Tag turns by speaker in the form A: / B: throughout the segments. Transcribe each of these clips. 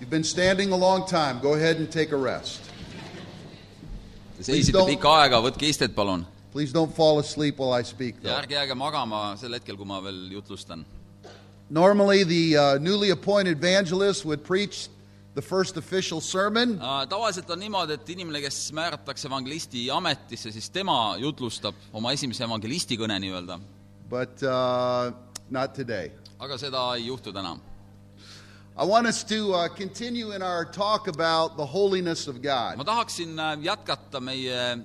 A: You've been standing a long time. Go ahead and take a rest.
B: seisite
A: don't-
B: pikka aega , võtke istet , palun .
A: Please don't fall asleep while I speak,
B: ja
A: though.
B: ärge jääge magama sel hetkel , kui ma veel jutlustan .
A: Normally, the uh, newly appointed evangelist would preach the first official sermon,
B: Äh, tavaliselt on niimoodi , et inimene , kes määratakse evangelisti ametisse , siis tema jutlustab oma esimese evangelisti kõne nii-öelda .
A: but uh, not today.
B: aga seda ei juhtu täna .
A: I want us to uh, continue in our talk about the holiness of
B: ma
A: God.
B: tahaksin äh, jätkata meie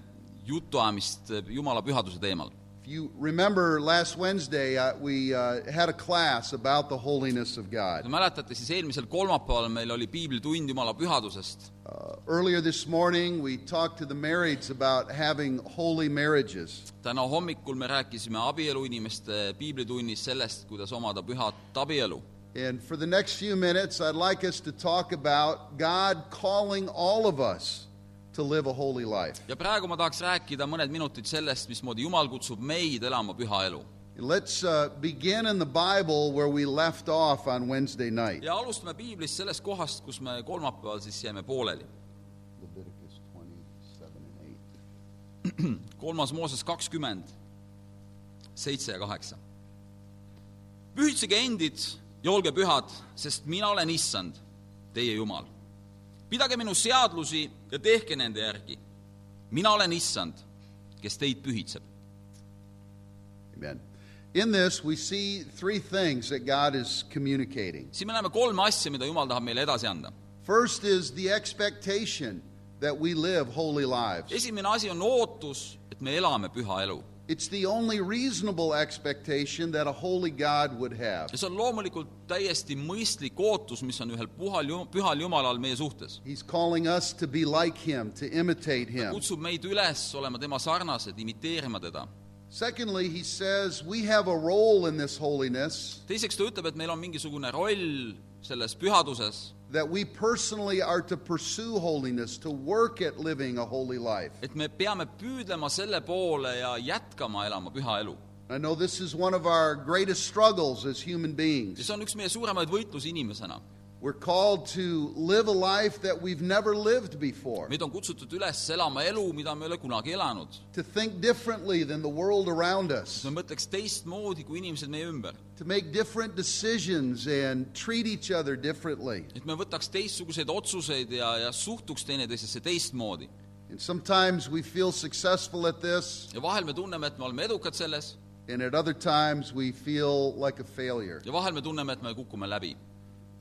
B: jutuajamist äh, Jumala pühaduse teemal .
A: If you remember last Wednesday, uh, we uh, had a class about the holiness of
B: Te
A: God.
B: mäletate , siis eelmisel kolmapäeval meil oli piiblitund Jumala pühadusest
A: Uh, earlier this morning, we talked to the marrieds about having holy marriages.
B: täna hommikul me rääkisime abielu inimeste piiblitunnis sellest , kuidas omada pühat abielu .
A: And for the next few minutes, I'd like us to talk about God calling all of us to live a holy life.
B: ja praegu ma tahaks rääkida mõned minutid sellest , mismoodi Jumal kutsub meid elama püha elu .
A: Let's uh, begin in the Bible where we left off on Wednesday night.
B: ja alustame piiblist sellest kohast , kus me kolmapäeval siis jäime pooleli .
A: Leviticus 27 and 8.
B: kolmas Mooses kakskümmend , seitse ja kaheksa . pühitsege endid ja olge pühad , sest mina olen issand , teie Jumal . pidage minu seadlusi ja tehke nende järgi . mina olen issand , kes teid pühitseb .
A: Amen. In this, we see three things that God is communicating.
B: siin me näeme kolme asja , mida Jumal tahab meile edasi anda .
A: First is the expectation that we live holy lives.
B: esimene asi on ootus , et me elame püha elu
A: It's the only reasonable expectation that a holy God would have.
B: ja see on loomulikult täiesti mõistlik ootus , mis on ühel puhal , pühal Jumalal meie suhtes .
A: He's calling us to be like Him, to imitate Him.
B: kutsub meid üles olema tema sarnased , imiteerima teda
A: Secondly, He says we have a role in this holiness
B: teiseks ta ütleb , et meil on mingisugune roll selles pühaduses ,
A: that we personally are to pursue holiness, to work at living a holy life.
B: et me peame püüdlema selle poole ja jätkama elama püha elu .
A: I know this is one of our greatest struggles as human
B: ja
A: beings.
B: see on üks meie suuremaid võitlusi inimesena .
A: We're called to live a life that we've never lived before,
B: meid on kutsutud üles elama elu , mida me ei ole kunagi elanud .
A: to think differently than the world around us,
B: me mõtleks teistmoodi kui inimesed meie ümber ,
A: to make different decisions and treat each other differently.
B: et me võtaks teistsuguseid otsuseid ja , ja suhtuks teineteisesse teistmoodi .
A: And sometimes we feel successful at this,
B: ja vahel me tunneme , et me oleme edukad selles
A: and at other times we feel like a failure.
B: ja vahel me tunneme , et me kukume läbi .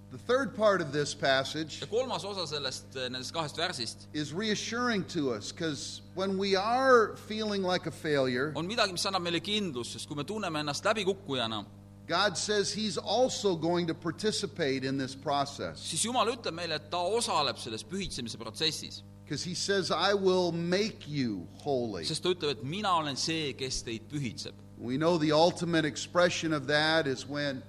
A: The third part of this passage
B: ja kolmas osa sellest , nendest kahest värsist
A: is reassuring to us because when we are feeling like a failure,
B: on midagi , mis annab meile kindlust , sest kui me tunneme ennast läbikukkujana ,
A: God says He's also going to participate in this process
B: siis Jumal ütleb meile , et ta osaleb selles pühitsemise protsessis ,
A: because He says, I will make you holy.
B: sest ta ütleb , et mina olen see , kes teid pühitseb .
A: We know the ultimate expression of that is when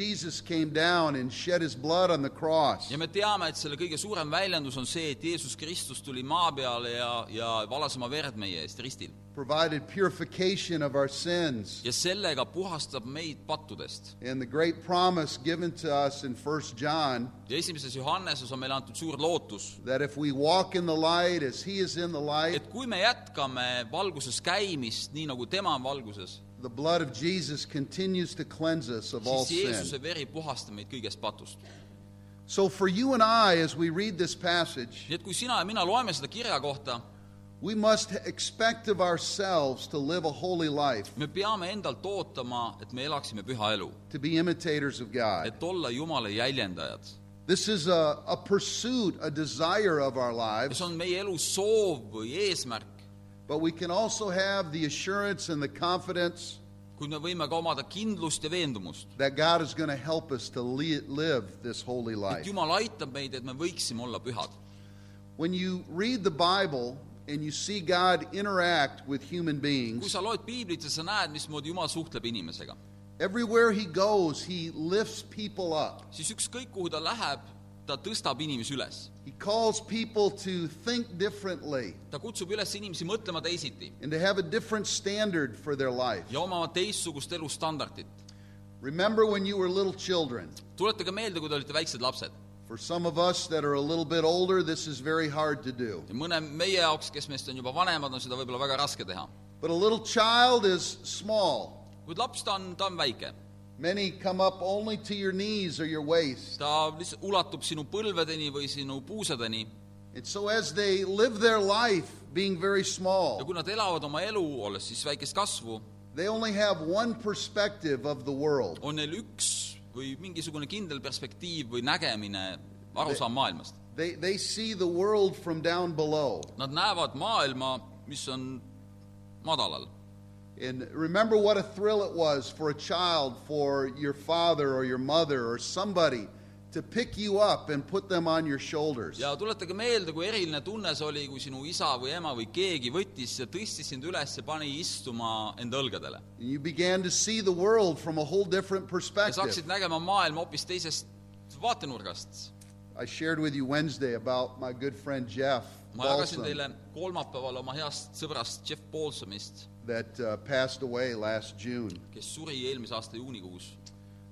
A: Jesus came down and shed His blood on the cross.
B: ja me teame , et selle kõige suurem väljendus on see , et Jeesus Kristus tuli maa peale ja , ja valas oma verd meie eest ristil
A: provided purification of our sins
B: ja sellega puhastab meid pattudest .
A: and the great promise given to us in 1 John
B: ja esimeses Johanneses on meile antud suur lootus ,
A: that if we walk in the light as he is in the light,
B: et kui me jätkame valguses käimist , nii nagu tema on valguses ,
A: the blood of Jesus continues to cleanse us of all
B: siis
A: sin.
B: Jeesuse veri puhastab meid kõigest patust .
A: So for you and I as we read this passage,
B: nii et kui sina ja mina loeme seda kirja kohta ,
A: we must expect of ourselves to live a holy life,
B: me peame endalt ootama , et me elaksime püha elu ,
A: to be imitators of God.
B: et olla Jumala jäljendajad .
A: This is a, a pursuit, a desire of our
B: ja
A: lives,
B: see on meie elu soov või eesmärk ,
A: but we can also have the assurance and the confidence
B: kuid me võime ka omada kindlust ja veendumust ,
A: that God is going to help us to le- live this holy
B: et
A: life.
B: Jumal aitab meid , et me võiksime olla pühad .
A: When you read the Bible and you see God interact with human
B: kui
A: beings,
B: sa loed piiblit ja sa näed , mismoodi Jumal suhtleb inimesega ,
A: everywhere he goes, he lifts people up.
B: siis ükskõik , kuhu ta läheb , ta tõstab inimesi üles .
A: He calls people to think differently
B: ta kutsub üles inimesi mõtlema teisiti
A: and to have a different standard for their life.
B: ja omama teistsugust elustandardit .
A: Remember when you were little children,
B: tuletage meelde , kui te olite väiksed lapsed .
A: For some of us that are a little bit older, this is very hard to do.
B: ja mõne meie jaoks , kes meist on juba vanemad , on seda võib-olla väga raske teha .
A: But a little child is small.
B: kuid laps , ta on , ta on väike ,
A: Many come up only to your knees or your waist.
B: ta lihtsalt ulatub sinu põlvedeni või sinu puusadeni
A: And so, as they live their life being very
B: ja
A: small,
B: kui nad elavad oma elu , olles siis väikest kasvu ,
A: they only have one perspective of the world.
B: on neil üks või mingisugune kindel perspektiiv või nägemine , arusaam maailmast .
A: They, they see the world from down below.
B: Nad näevad maailma , mis on madalal .
A: And remember what a thrill it was for a child, for your father or your mother or somebody to pick you up and put them on your shoulders.
B: ja tuletage meelde , kui eriline tunne see oli , kui sinu isa või ema või keegi võttis ja tõstis sind üles ja pani istuma enda õlgadele .
A: And you began to see the world from a whole different
B: ja
A: perspective.
B: saaksid nägema maailma hoopis teisest vaatenurgast .
A: I shared with you Wednesday about my good friend Jeff
B: ma jagasin
A: Balsam
B: teile kolmapäeval oma heast sõbrast Jeff Paulsonist ,
A: that uh, passed away last June.
B: kes suri eelmise aasta juunikuus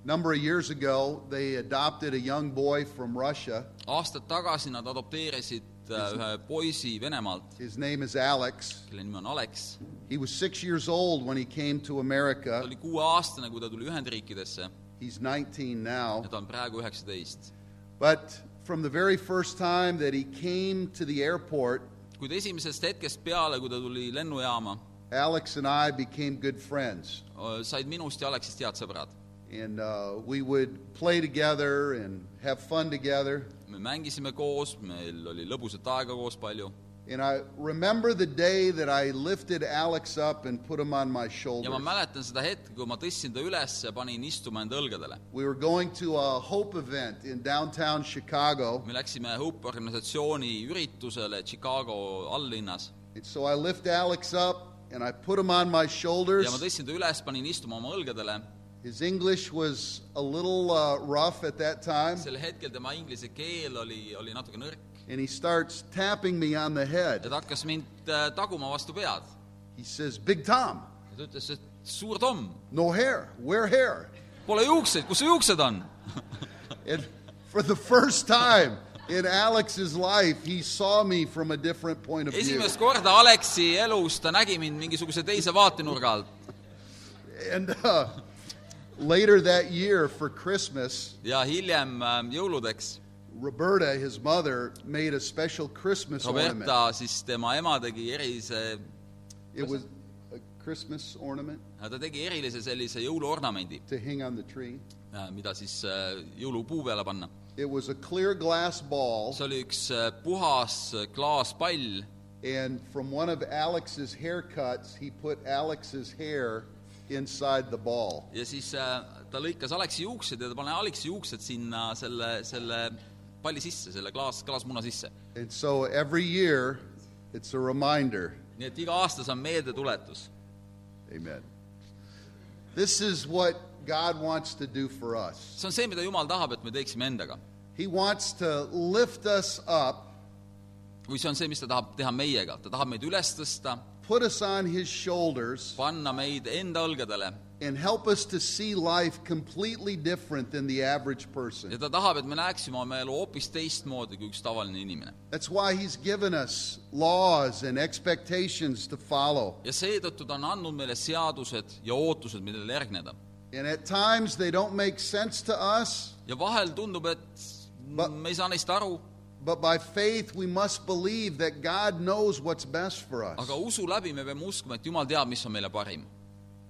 A: number of years ago, they adopted a young boy from Russia.
B: aastad tagasi nad adopteerisid äh, ühe poisi Venemaalt ,
A: His name is Alex.
B: kelle nimi on Alex .
A: He was six years old when he came to
B: ta
A: America.
B: oli kuueaastane , kui ta tuli Ühendriikidesse
A: He's 19
B: ja
A: now.
B: ta on praegu üheksateist .
A: But from the very first time that he came to the airport,
B: kuid esimesest hetkest peale , kui ta tuli lennujaama ,
A: Alex and I became good friends.
B: said minust ja Alexist head sõbrad .
A: And uh, we would play together and have fun together.
B: me mängisime koos , meil oli lõbusat aega koos palju
A: And I remember the day that I lifted Alex up and put him on my
B: ja
A: shoulders.
B: ma mäletan seda hetke , kui ma tõstsin ta üles ja panin istuma enda õlgadele .
A: We were going to a Hope event in downtown Chicago.
B: me läksime Hope organisatsiooni üritusele Chicago alllinnas
A: And so I lift Alex up and I put him on my
B: ja ma
A: shoulders.
B: tõstsin ta üles , panin istuma oma õlgadele
A: His English was a little uh, rough at that time,
B: sel hetkel tema inglise keel oli , oli natuke nõrk
A: and he starts tapping me on the
B: ja
A: head.
B: ta hakkas mind äh, taguma vastu pead .
A: He says, Big Tom,
B: ja ta ütles , et suur Tom ,
A: no hair, wear hair.
B: pole juukseid , kus su juuksed on ?
A: And for the first time in Alex's life, he saw me from a different point of view.
B: esimest korda Aleksi elus ta nägi mind mingisuguse teise vaatenurga alt
A: And uh, later that year for Christmas,
B: ja hiljem äh, jõuludeks
A: Roberta, his mother, made a special Christmas ornament.
B: Roberta , siis tema ema tegi erilise ,
A: It was a Christmas ornament
B: ta tegi erilise sellise jõuluornamendi ,
A: to hang on the tree.
B: mida siis äh, jõulupuu peale panna .
A: It was a clear glass ball,
B: see oli üks äh, puhas äh, klaaspall
A: and from one of Alex's haircuts, he put Alex's hair inside the ball.
B: ja siis äh, ta lõikas Aleksi juuksed ja ta pani Aleksi juuksed sinna selle , selle palli sisse , selle klaas , klaasmuna sisse .
A: And so every year, it's a reminder.
B: nii et iga aasta see on meeldetuletus .
A: Amen. This is what God wants to do for us.
B: see on see , mida Jumal tahab , et me teeksime endaga .
A: He wants to lift us up,
B: või see on see , mis ta tahab teha meiega , ta tahab meid üles tõsta ,
A: put us on His shoulders,
B: panna meid enda õlgadele
A: and help us to see life completely different than the average person.
B: ja ta tahab , et me näeksime oma elu hoopis teistmoodi kui üks tavaline inimene .
A: That's why he's given us laws and expectations to follow.
B: ja seetõttu ta on andnud meile seadused ja ootused , millele järgneda .
A: And at times they don't make sense to us,
B: ja vahel tundub , et
A: Ma-
B: me ei saa neist aru ,
A: but by faith we must believe that God knows what's best for us.
B: aga usu läbi me peame uskuma , et Jumal teab , mis on meile parim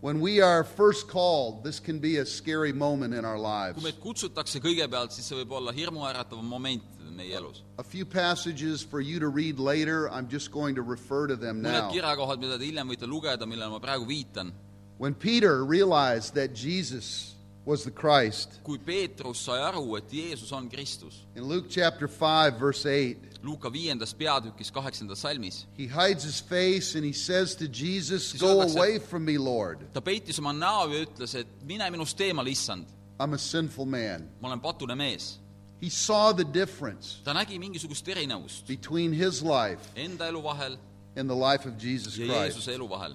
A: When we are first called, this can be a scary moment in our
B: kui
A: lives.
B: meid kutsutakse kõigepealt , siis see võib olla hirmuäratav moment meie elus .
A: A few passages for you to read later. I'm just going to refer to them
B: mõned
A: now.
B: kirjakohad , mida te hiljem võite lugeda , millele ma praegu viitan .
A: When Peter realized that Jesus was the Christ,
B: kui Peetrus sai aru , et Jeesus on Kristus ,
A: in Luke chapter 5, verse 8,
B: Luuka viiendas peatükis kaheksandas salmis ,
A: He hides his face and he says to Jesus,
B: Siis
A: Go
B: öeldakse-
A: away from me, Lord.
B: ta peitis oma näo ja ütles , et mine minust eemale , issand ,
A: I'm a sinful man.
B: ma olen patune mees .
A: He saw the difference
B: ta nägi mingisugust erinevust
A: between his life
B: enda elu vahel
A: and the life of Jesus
B: ja
A: Christ.
B: Jeesuse elu vahel .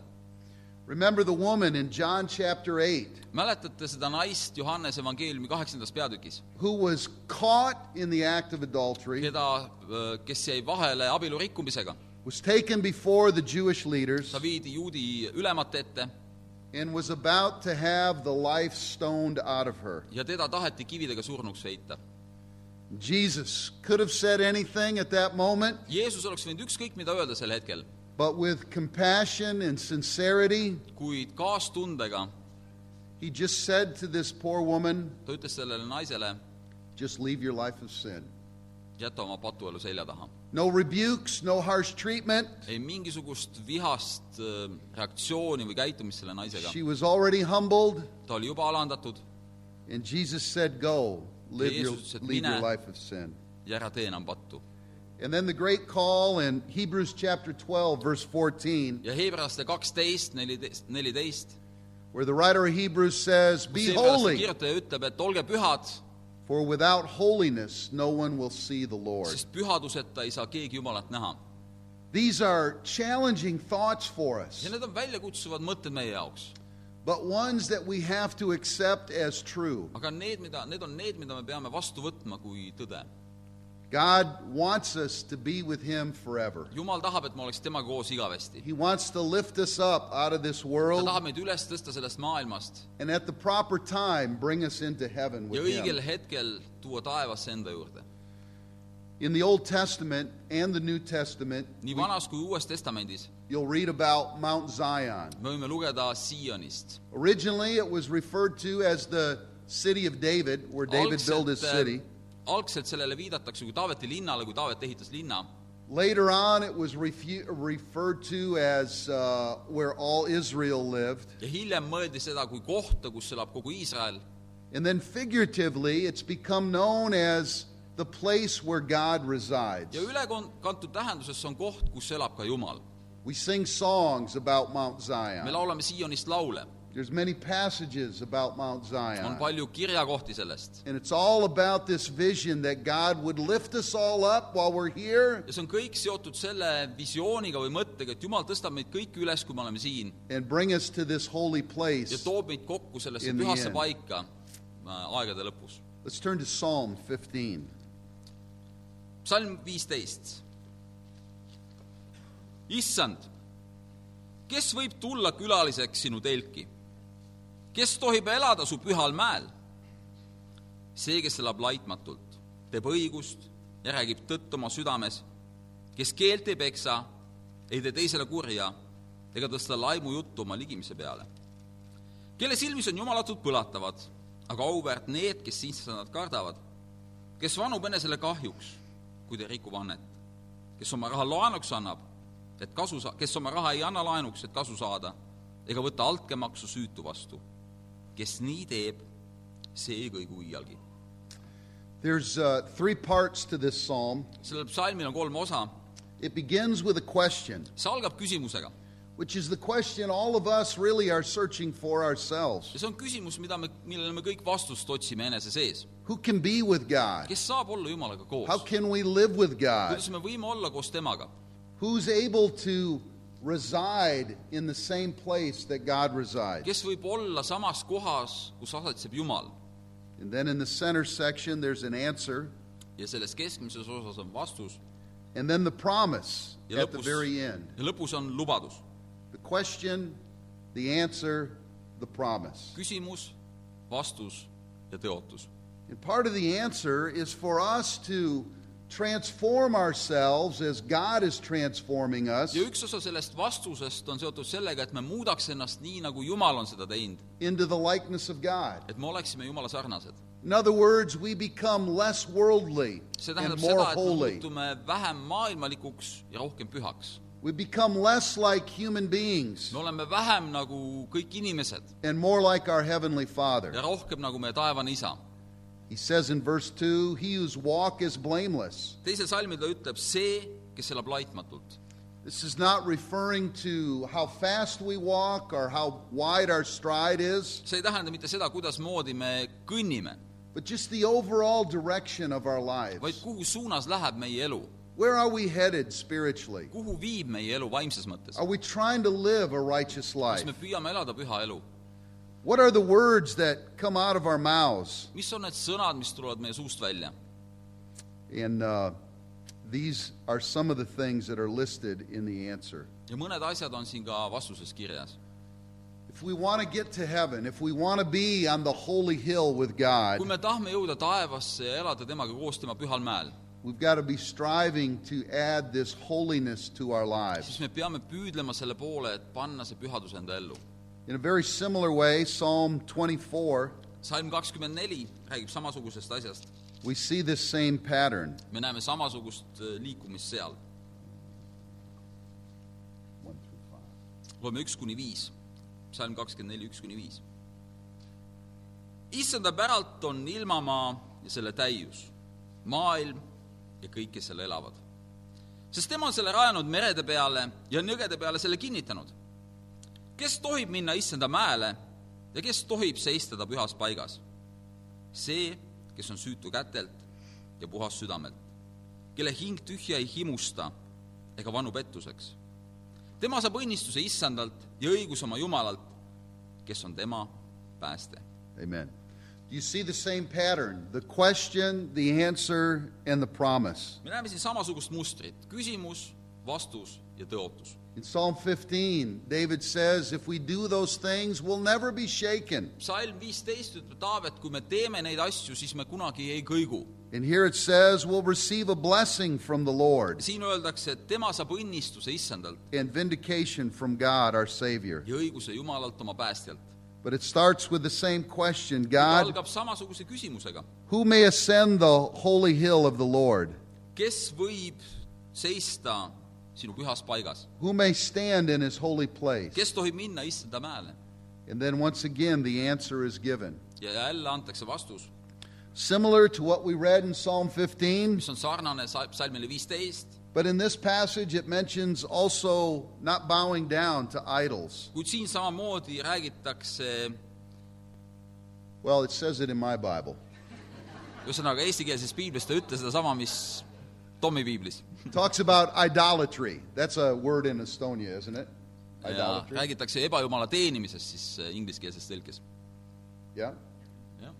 A: Remember the woman in John chapter 8
B: mäletate seda naist Johannese evangeeliumi kaheksandas peatükis ,
A: who was caught in the act of adultery,
B: keda , kes jäi vahele abielu rikkumisega ,
A: was taken before the Jewish leaders,
B: ta viidi juudi ülemate ette
A: and was about to have the life stoned out of her.
B: ja teda taheti kividega surnuks heita .
A: Jesus could have said anything at that moment,
B: Jeesus oleks võinud ükskõik mida öelda sel hetkel ,
A: but with compassion and sincerity,
B: kuid kaastundega
A: he just said to this poor woman,
B: ta ütles sellele naisele ,
A: Just leave your life of sin.
B: jäta oma patuelu selja taha .
A: No rebukes, no harsh treatment.
B: ei mingisugust vihast äh, reaktsiooni või käitumist selle naisega .
A: She was already humbled,
B: ta oli juba alandatud
A: and Jesus said, Go, live your,
B: Jesus said,
A: leave your
B: "Mine."
A: life of sin.
B: ja ära tee enam pattu .
A: And then the great call in Hebrews chapter 12, verse 14,
B: ja Hebraste kaksteist , neliteist , neliteist .
A: where the writer of Hebrews says, Be holy,
B: kirjutaja ütleb , et olge pühad ,
A: for without holiness no one will see the Lord.
B: sest pühaduseta ei saa keegi Jumalat näha .
A: These are challenging thoughts for us,
B: ja need on väljakutsuvad mõtted meie jaoks .
A: but ones that we have to accept as true.
B: aga need , mida , need on need , mida me peame vastu võtma kui tõde .
A: God wants us to be with Him forever.
B: Jumal tahab , et me oleks temaga koos igavesti .
A: He wants to lift us up out of this
B: ta
A: world
B: tahab meid üles tõsta sellest maailmast
A: and at the proper time bring us into heaven
B: ja
A: with
B: õigel
A: Him.
B: hetkel tuua taevasse enda juurde .
A: In the Old Testament and the New Testament,
B: nii vanas kui Uues Testamendis
A: you'll read about Mount Zion.
B: me võime lugeda Siionist .
A: Originally, it was referred to as the city of David, where David built his city.
B: äh, algselt sellele viidatakse kui Taaveti linnale , kui Taavet ehitas linna .
A: Later on, it was refu- referred to as uh, where all Israel lived.
B: ja hiljem mõeldi seda kui kohta , kus elab kogu Iisrael
A: And then, figuratively, it's become known as the place where God resides.
B: ja ülekantud tähenduses see on koht , kus elab ka Jumal .
A: We sing songs about Mount
B: me
A: Zion.
B: laulame Siionist laule ,
A: There's many passages about Mount
B: on
A: Zion.
B: palju kirjakohti sellest
A: And it's all about this vision that God would lift us all up while we're here
B: ja see on kõik seotud selle visiooniga või mõttega , et Jumal tõstab meid kõiki üles , kui me oleme siin
A: and bring us to this holy
B: ja
A: place.
B: toob meid kokku sellesse
A: In the
B: pühasse
A: end.
B: paika äh, aegade lõpus .
A: Let's turn to Psalm 15.
B: psalm viisteist . issand , kes võib tulla külaliseks sinu telki ? kes tohib elada su pühal mäel ? see , kes elab laitmatult , teeb õigust ja räägib tõtt oma südames , kes keelt ei peksa , ei tee teisele kurja ega tõsta laimujuttu oma ligimise peale . kelle silmis on jumalatud põlatavad , aga auväärt need , kes issand kardavad , kes vanub enesele kahjuks , kui ta rikub annet , kes oma raha laenuks annab , et kasu sa- , kes oma raha ei anna laenuks , et kasu saada , ega võta altkäemaksu süütu vastu . kes nii teeb , see ei kõigu iialgi .
A: There's uh, three parts to this psalm.
B: sellel psalmil on kolm osa ,
A: It begins with a question,
B: see algab küsimusega
A: which is the question all of us really are searching for ourselves.
B: ja see on küsimus , mida me , millele me kõik vastust otsime enese sees .
A: Who can be with God?
B: kes saab olla Jumalaga
A: How
B: koos ?
A: can we live with God?
B: kuidas me võime olla koos temaga ?
A: Who's able to reside in the same place that God resides?
B: kes võib olla samas kohas , kus asetseb Jumal ?
A: And then in the center section, there's an answer,
B: ja selles keskmises osas on vastus
A: and then the promise
B: ja
A: at the
B: lõpus ,
A: very end.
B: ja lõpus on lubadus
A: The question, the answer, the promise.
B: küsimus , vastus ja tõotus .
A: And part of the answer is for us to transform ourselves as God is transforming us
B: ja üks osa sellest vastusest on seotud sellega , et me muudaks ennast nii , nagu Jumal on seda teinud ,
A: into the likeness of God.
B: et me oleksime Jumala sarnased .
A: In other words, we become less worldly
B: see
A: and
B: tähendab
A: more
B: seda , et me
A: holy.
B: muutume vähem maailmalikuks ja rohkem pühaks .
A: We become less like human beings
B: me oleme vähem nagu kõik inimesed
A: and more like our Heavenly Father.
B: ja rohkem nagu meie taevane isa .
A: He says in verse 2 He whose walk is blameless.
B: teisel salmil ta ütleb , see , kes elab laitmatult .
A: This is not referring to how fast we walk or how wide our stride is.
B: see ei tähenda mitte seda , kuidasmoodi me kõnnime ,
A: but just the overall direction of our
B: vaid
A: lives.
B: kuhu suunas läheb meie elu .
A: Where are we headed spiritually?
B: kuhu viib meie elu vaimses mõttes ?
A: Are we trying to live a righteous
B: kas
A: life?
B: me püüame elada püha elu ?
A: What are the words that come out of our mouths?
B: mis on need sõnad , mis tulevad meie suust välja ?
A: And uh, these are some of the things that are listed in the answer.
B: ja mõned asjad on siin ka vastuses kirjas .
A: If we want to get to heaven, if we want to be on the holy hill with God,
B: kui me tahame jõuda taevasse ja elada temaga koos tema pühal mäel ,
A: we've got to be striving to add this holiness to our lives.
B: siis me peame püüdlema selle poole , et panna see pühadus enda ellu .
A: In a very similar way, Psalm 24,
B: salm kakskümmend neli räägib samasugusest asjast .
A: we see this same pattern.
B: me näeme samasugust äh, liikumist seal .
A: One through five.
B: loeme üks kuni viis , salm kakskümmend neli , üks kuni viis . issanda päralt on ilmamaa ja selle täius , maailm ja kõik , kes seal elavad . sest tema on selle rajanud merede peale ja nõgede peale selle kinnitanud . kes tohib minna issanda mäele ja kes tohib seista ta pühas paigas ? see , kes on süütu kätelt ja puhas südamelt , kelle hing tühja ei himusta ega vanu pettuseks tema saab õnnistuse issandalt ja õigus oma jumalalt , kes on tema pääste .
A: Amen. Do you see the same pattern? The question, the answer, and the promise.
B: me näeme siin samasugust mustrit , küsimus , vastus ja tõotus .
A: In Psalm 15, David says, If we do those things, we'll never be shaken.
B: salm viisteist ütleb Taavet , kui me teeme neid asju , siis me kunagi ei kõigu .
A: And here it says, We'll receive a blessing from the Lord
B: siin öeldakse , et tema saab õnnistuse issandalt
A: and vindication from God, our Savior.
B: ja õiguse jumalalt oma päästjalt .
A: But it starts with the same question
B: ta
A: God,
B: algab samasuguse küsimusega .
A: who may ascend the holy hill of the Lord?
B: kes võib seista sinu pühas paigas ,
A: Who may stand in his holy place?
B: kes tohib minna issanda mäele ?
A: And then once again, the answer is given.
B: ja jälle antakse vastus
A: Similar to what we read in Psalm 15,
B: mis on sarnane sa- salmile viisteist ,
A: But in this passage, it mentions also not bowing down to idols.
B: kuid siin samamoodi räägitakse ,
A: Well, it says it in my Bible.
B: ühesõnaga eestikeelses piiblis ta ei ütle sedasama , mis Tommi piiblis .
A: It talks about idolatry. That's a word in Estonia, isn't it?
B: ja
A: Idolatry.
B: räägitakse ebajumala teenimisest siis äh, ingliskeelses tõlkes .
A: Yeah?
B: jah ,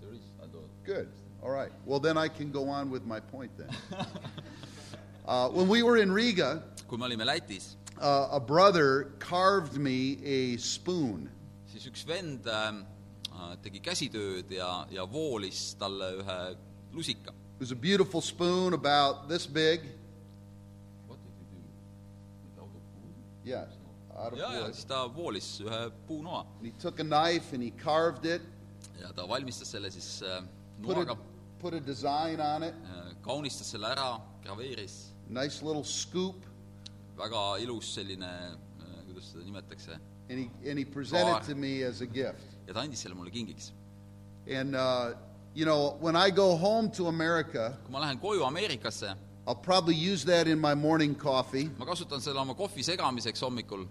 B: there is , I don't .
A: Good. All right. Well, then I can go on with my point then. Uh, when we were in Riga,
B: kui me olime Lätis ,
A: uh, a brother carved me a spoon.
B: siis üks vend ähm, äh, tegi käsitööd ja , ja voolis talle ühe lusika .
A: It was a beautiful spoon about this big. Yeah. Out of
B: ja , ja
A: wood.
B: siis ta voolis ühe puunoa
A: And he took a knife and he carved it
B: ja ta valmistas selle siis äh,
A: put a,
B: noaga ,
A: put a design on it,
B: äh, kaunistas selle ära , graveeris
A: nice little scoop,
B: väga ilus selline , kuidas seda nimetatakse ,
A: and he, and he presented
B: Right.
A: it to me as a gift.
B: ja ta andis selle mulle kingiks .
A: And, uh, you know, when I go home to America,
B: kui ma lähen koju Ameerikasse ,
A: I'll probably use that in my morning coffee,
B: ma kasutan selle oma kohvi segamiseks hommikul ,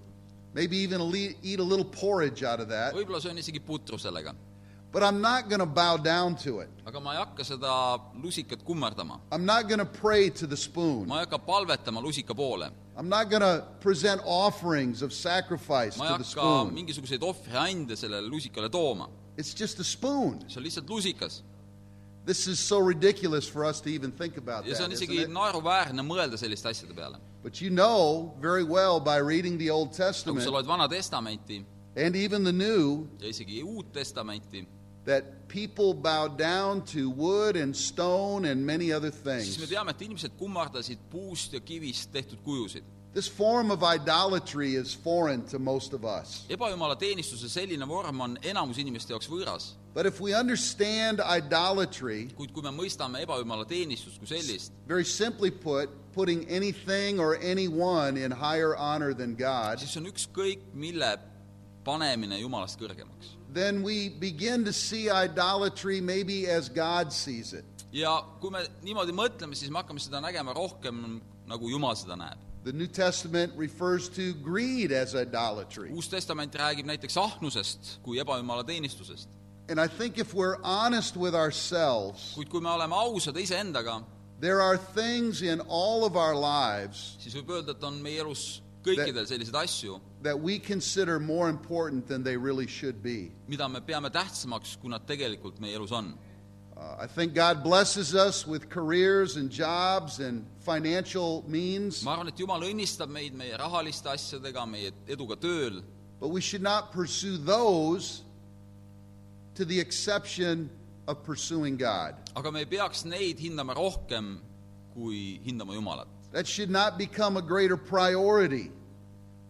A: maybe even le- eat a little porridge out of that,
B: võib-olla söön isegi putru sellega ,
A: but I'm not going to bow down to it.
B: aga ma ei hakka seda lusikat kummardama .
A: I'm not going to pray to the spoon.
B: ma ei hakka palvetama lusika poole ,
A: I'm not going to present offerings of sacrifice
B: ma ei
A: to the
B: hakka
A: spoon.
B: mingisuguseid ohvriande sellele lusikale tooma ,
A: It's just a spoon.
B: see on lihtsalt lusikas .
A: This is so ridiculous for us to even think about
B: ja see
A: that.
B: on
A: isn't
B: isegi
A: it?
B: naeruväärne mõelda selliste asjade peale .
A: But you know very well by reading the Old
B: aga kui Nagu sa
A: Testament
B: loed Vana Testamenti
A: and even the New
B: ja isegi Uut Testamenti ,
A: that people bowed down to wood and stone and many other
B: siis me
A: things.
B: teame , et inimesed kummardasid puust ja kivist tehtud kujusid .
A: This form of idolatry is foreign to most of us.
B: ebajumala teenistuse selline vorm on enamus inimeste jaoks võõras ,
A: But if we understand idolatry,
B: kuid kui me mõistame ebajumala teenistust kui sellist ,
A: very simply put, putting anything or anyone in higher honor than God,
B: siis on ükskõik mille panemine Jumalast kõrgemaks .
A: then we begin to see idolatry maybe as God sees it.
B: ja kui me niimoodi mõtleme , siis me hakkame seda nägema rohkem , nagu Jumal seda näeb .
A: The New Testament refers to greed as idolatry.
B: uus testament räägib näiteks ahnusest kui ebajumala teenistusest ,
A: And I think if we're honest with ourselves,
B: kuid kui me oleme ausad iseendaga ,
A: There are things in all of our lives
B: siis võib öelda , et on meie elus kõikidel selliseid asju ,
A: that we consider more important than they really should be.
B: mida me peame tähtsamaks , kui nad tegelikult meie elus on .
A: Uh, I think God blesses us with careers and jobs and financial means,
B: ma arvan , et Jumal õnnistab meid meie rahaliste asjadega , meie eduga tööl ,
A: but we should not pursue those to the exception of pursuing God.
B: aga me ei peaks neid hindama rohkem , kui hindama Jumalat .
A: That should not become a greater priority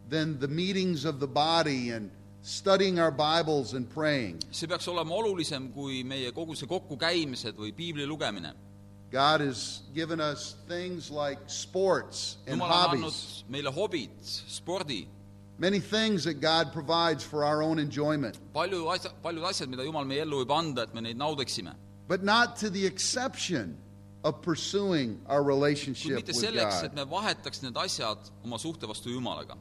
A: than the meetings of the body and studying our Bibles and praying.
B: see peaks olema olulisem kui meie kogu see kokkukäimised või piibli lugemine .
A: God has given us things like sports and
B: Jumal on andnud
A: hobbies,
B: meile hobid , spordi ,
A: many things that God provides for our own enjoyment,
B: palju asja , paljud asjad , mida Jumal meie ellu võib anda , et me neid naudiksime .
A: but not to the exception of pursuing our
B: kuid
A: relationship
B: mitte
A: with
B: selleks , et
A: God.
B: me vahetaks need asjad oma suhte vastu Jumalaga .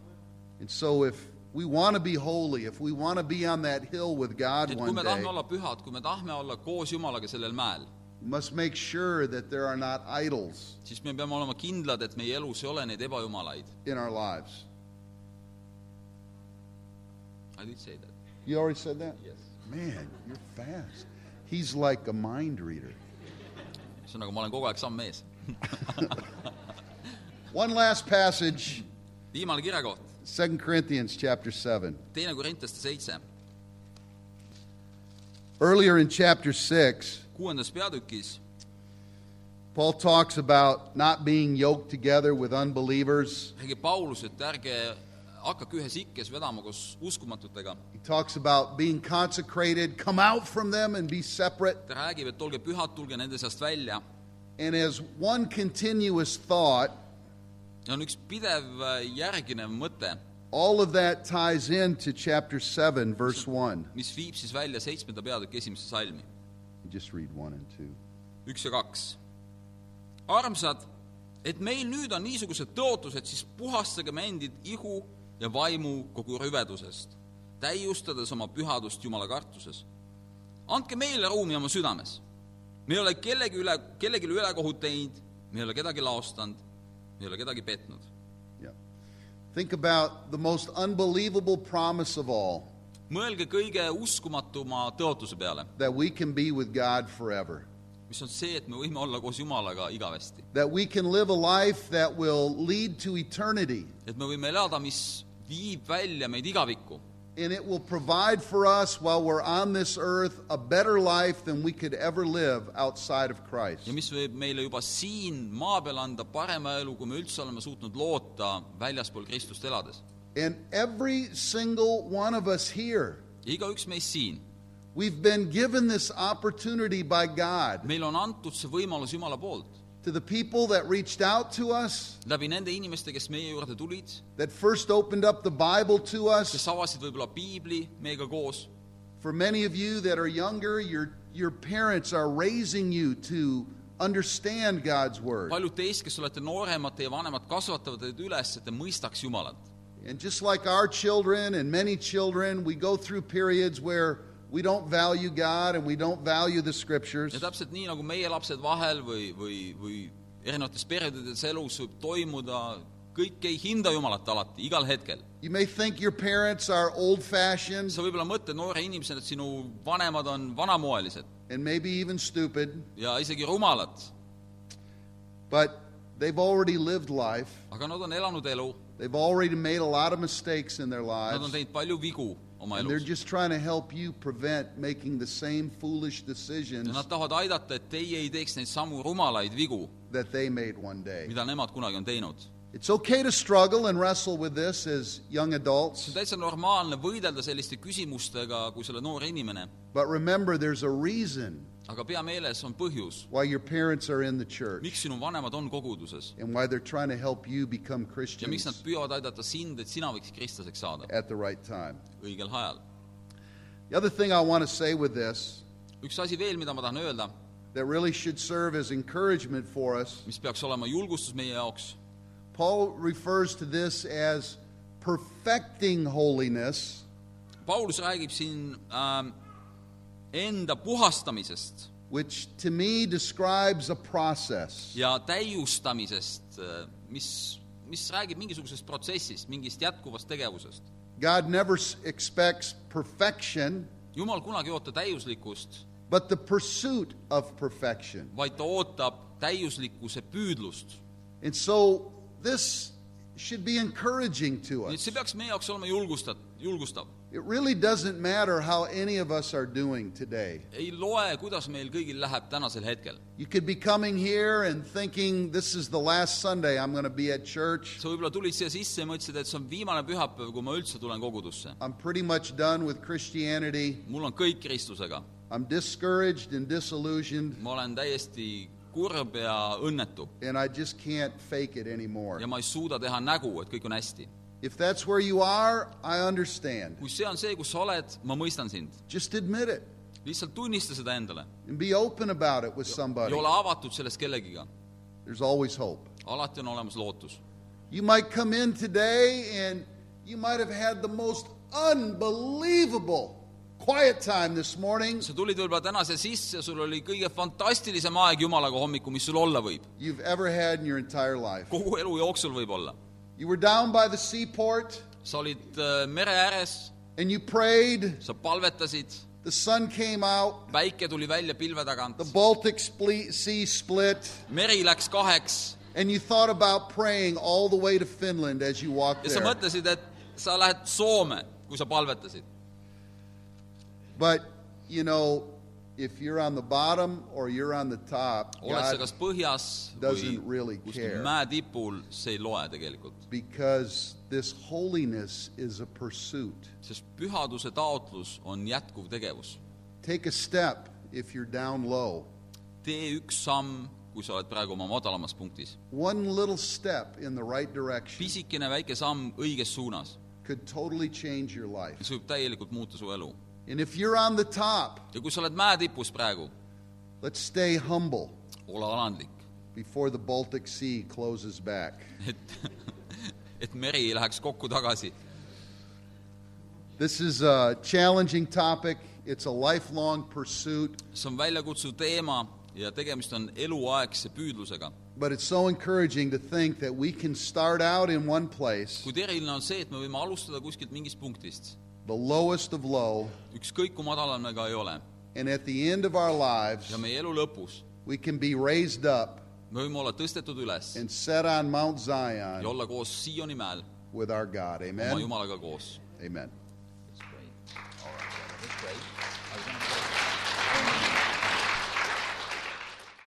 A: And so, if we want to be holy, if we want to be on that hill with God
B: et kui
A: one
B: me
A: day,
B: tahame olla pühad , kui me tahame olla koos Jumalaga sellel mäel ,
A: we must make sure that there are not idols
B: siis me peame olema kindlad , et meie elus ei ole neid ebajumalaid .
A: in our lives.
B: I did say that .
A: You already said that?
B: Yes.
A: Man, you're fast. He's like a mind reader.
B: ühesõnaga , nagu, ma olen kogu aeg samm ees .
A: One last passage,
B: viimane kirjakoht ,
A: 2 Corinthians chapter 7.
B: teine Korintlaste seitse ,
A: Earlier in chapter 6,
B: kuuendas peatükis
A: Paul talks about not being yoked together with unbelievers.
B: räägib Paulus , et ärge hakake ühes ikkes vedama koos uskumatutega .
A: He talks about being consecrated, come out from them and be separate.
B: ta räägib , et olge pühad , tulge nende seast välja .
A: And as one continuous thought,
B: ja on üks pidev äh, järginev mõte ,
A: all of that ties into chapter 7, verse 1.
B: mis viib siis välja seitsmenda peatüki esimesse salmi ,
A: Just read 1 and 2.
B: üks ja kaks . armsad , et meil nüüd on niisugused tõotused , siis puhastage me endid ihu ja vaimu kogu rüvedusest , täiustades oma pühadust Jumala kartuses . andke meile ruumi oma südames . me ei ole kellegi üle , kellelegi ülekohut teinud , me ei ole kedagi laostanud , me ei ole kedagi petnud .
A: Yeah. Think about the most unbelievable promise of all
B: mõelge kõige uskumatuma tõotuse peale ,
A: that we can be with God forever,
B: mis on see , et me võime olla koos Jumalaga igavesti .
A: that we can live a life that will lead to eternity,
B: et me võime elada , mis viib välja meid igavikku
A: and it will provide for us while we're on this earth a better life than we could ever live outside of Christ.
B: ja mis võib meile juba siin maa peal anda parema elu , kui me üldse oleme suutnud loota väljaspool Kristust elades .
A: And every single one of us here,
B: ja igaüks meist siin ,
A: we've been given this opportunity by God
B: meile on antud see võimalus Jumala poolt ,
A: to the people that reached out to us,
B: läbi nende inimeste , kes meie juurde tulid ,
A: that first opened up the Bible to us.
B: kes avasid võib-olla piibli meiega koos
A: For many of you that are younger, your, your parents are raising you to understand God's Word.
B: paljud teist , kes olete nooremad , teie vanemad kasvatavad teid üles , et te mõistaks Jumalat .
A: And just like our children and many children, we go through periods where we don't value God and we don't value the
B: ja
A: Scriptures.
B: täpselt nii , nagu meie lapsed vahel või , või , või erinevates peredes elus võib toimuda , kõik ei hinda Jumalat alati , igal hetkel .
A: You may think your parents are old fashioned
B: sa võib-olla mõtled noore inimesena , et sinu vanemad on vanamoelised
A: and maybe even stupid,
B: ja isegi rumalad ,
A: but they've already lived life.
B: aga nad on elanud elu ,
A: They've already made a lot of mistakes in their
B: nad on
A: lives.
B: teinud palju vigu oma
A: And they're
B: elus
A: just trying to help you prevent making the same foolish
B: ja
A: decisions
B: nad tahavad aidata , et teie ei teeks neid samu rumalaid vigu ,
A: that they made one day.
B: mida nemad kunagi on teinud .
A: It's okay to struggle and wrestle with this as young
B: see
A: adults,
B: on täitsa normaalne võidelda selliste küsimustega , kui sa oled noor inimene ,
A: but remember there's a reason
B: aga pea meeles on põhjus ,
A: why your parents are in the church
B: miks sinu vanemad on koguduses
A: and why they're trying to help you become
B: ja miks nad
A: Christians
B: püüavad aidata sind , et sina võiks kristlaseks saada
A: at the right time.
B: õigel ajal .
A: The other thing I want to say with this
B: üks asi veel , mida ma tahan öelda ,
A: that really should serve as encouragement for us,
B: mis peaks olema julgustus meie jaoks
A: Paul refers to this as perfecting holiness
B: Paulus räägib siin äh, enda ähm, puhastamisest
A: which to me describes a process.
B: ja täiustamisest , mis , mis räägib mingisugusest protsessist , mingist jätkuvast tegevusest .
A: God never s- expects perfection,
B: jumal kunagi ei oota täiuslikkust ,
A: but the pursuit of perfection.
B: vaid ta ootab täiuslikkuse püüdlust .
A: And so this should be encouraging to
B: nii et
A: us.
B: see peaks meie jaoks olema julgustat- , julgustav .
A: It really doesn't matter how any of us are doing today.
B: ei loe , kuidas meil kõigil läheb tänasel hetkel .
A: You could be coming here and thinking, this is the last Sunday I'm going to be at church.
B: sa võib-olla tulid siia sisse ja mõtlesid , et see on viimane pühapäev , kui ma üldse tulen kogudusse .
A: I'm pretty much done with Christianity.
B: mul on kõik Kristusega .
A: I'm discouraged and disillusioned,
B: ma olen täiesti kurb ja õnnetu
A: and I just can't fake it anymore.
B: ja ma ei suuda teha nägu , et kõik on hästi .
A: If that's where you are, I understand.
B: kui see on see , kus sa oled , ma mõistan sind .
A: Just admit it
B: lihtsalt tunnista seda endale
A: and be open about it with
B: ja
A: somebody.
B: ole avatud sellest kellegiga .
A: There's always hope.
B: alati on olemas lootus .
A: You might come in today and you might have had the most unbelievable quiet time this morning
B: sa tulid võib-olla täna siia sisse ja sul oli kõige fantastilisem aeg Jumalaga hommikul , mis sul olla võib .
A: you've ever had in your entire life.
B: kogu elu jooksul võib-olla .
A: You were down by the seaport
B: sa olid äh, mere ääres ,
A: and you prayed.
B: sa palvetasid ,
A: The sun came out.
B: päike tuli välja pilve tagant
A: The Baltic spli- Sea split.
B: meri läks kaheks
A: And you thought about praying all the way to Finland as you walked
B: ja sa
A: there.
B: mõtlesid , et sa lähed Soome , kui sa palvetasid .
A: But, you know, if you're on the bottom or you're on the top,
B: oled sa
A: God,
B: kas põhjas või
A: doesn't really
B: kuskil
A: care.
B: mäetipul , see ei loe tegelikult .
A: because this holiness is a pursuit.
B: sest pühaduse taotlus on jätkuv tegevus .
A: Take a step if you're down low.
B: tee üks samm , kui sa oled praegu oma madalamas punktis .
A: One little step in the right direction
B: pisikene väike samm õiges suunas ,
A: could totally change your life.
B: mis võib täielikult muuta su elu .
A: And if you're on the top,
B: ja kui sa oled mäetipus praegu ,
A: let's stay humble
B: ole alandlik ,
A: before the Baltic Sea closes back.
B: et et meri ei läheks kokku tagasi .
A: This is a challenging topic. It's a lifelong pursuit,
B: see on väljakutsuv teema ja tegemist on eluaegse püüdlusega .
A: but it's so encouraging to think that we can start out in one place,
B: kuid eriline on see , et me võime alustada kuskilt mingist punktist ,
A: the lowest of low,
B: ükskõik kui madalal me ka ei ole ,
A: and at the end of our lives,
B: ja meie elu lõpus
A: we can be raised up
B: me võime olla tõstetud üles
A: and set on Mount
B: ja
A: Zion
B: olla koos Sioni mäel
A: with our God.
B: oma
A: Amen.
B: Jumalaga koos
A: Amen.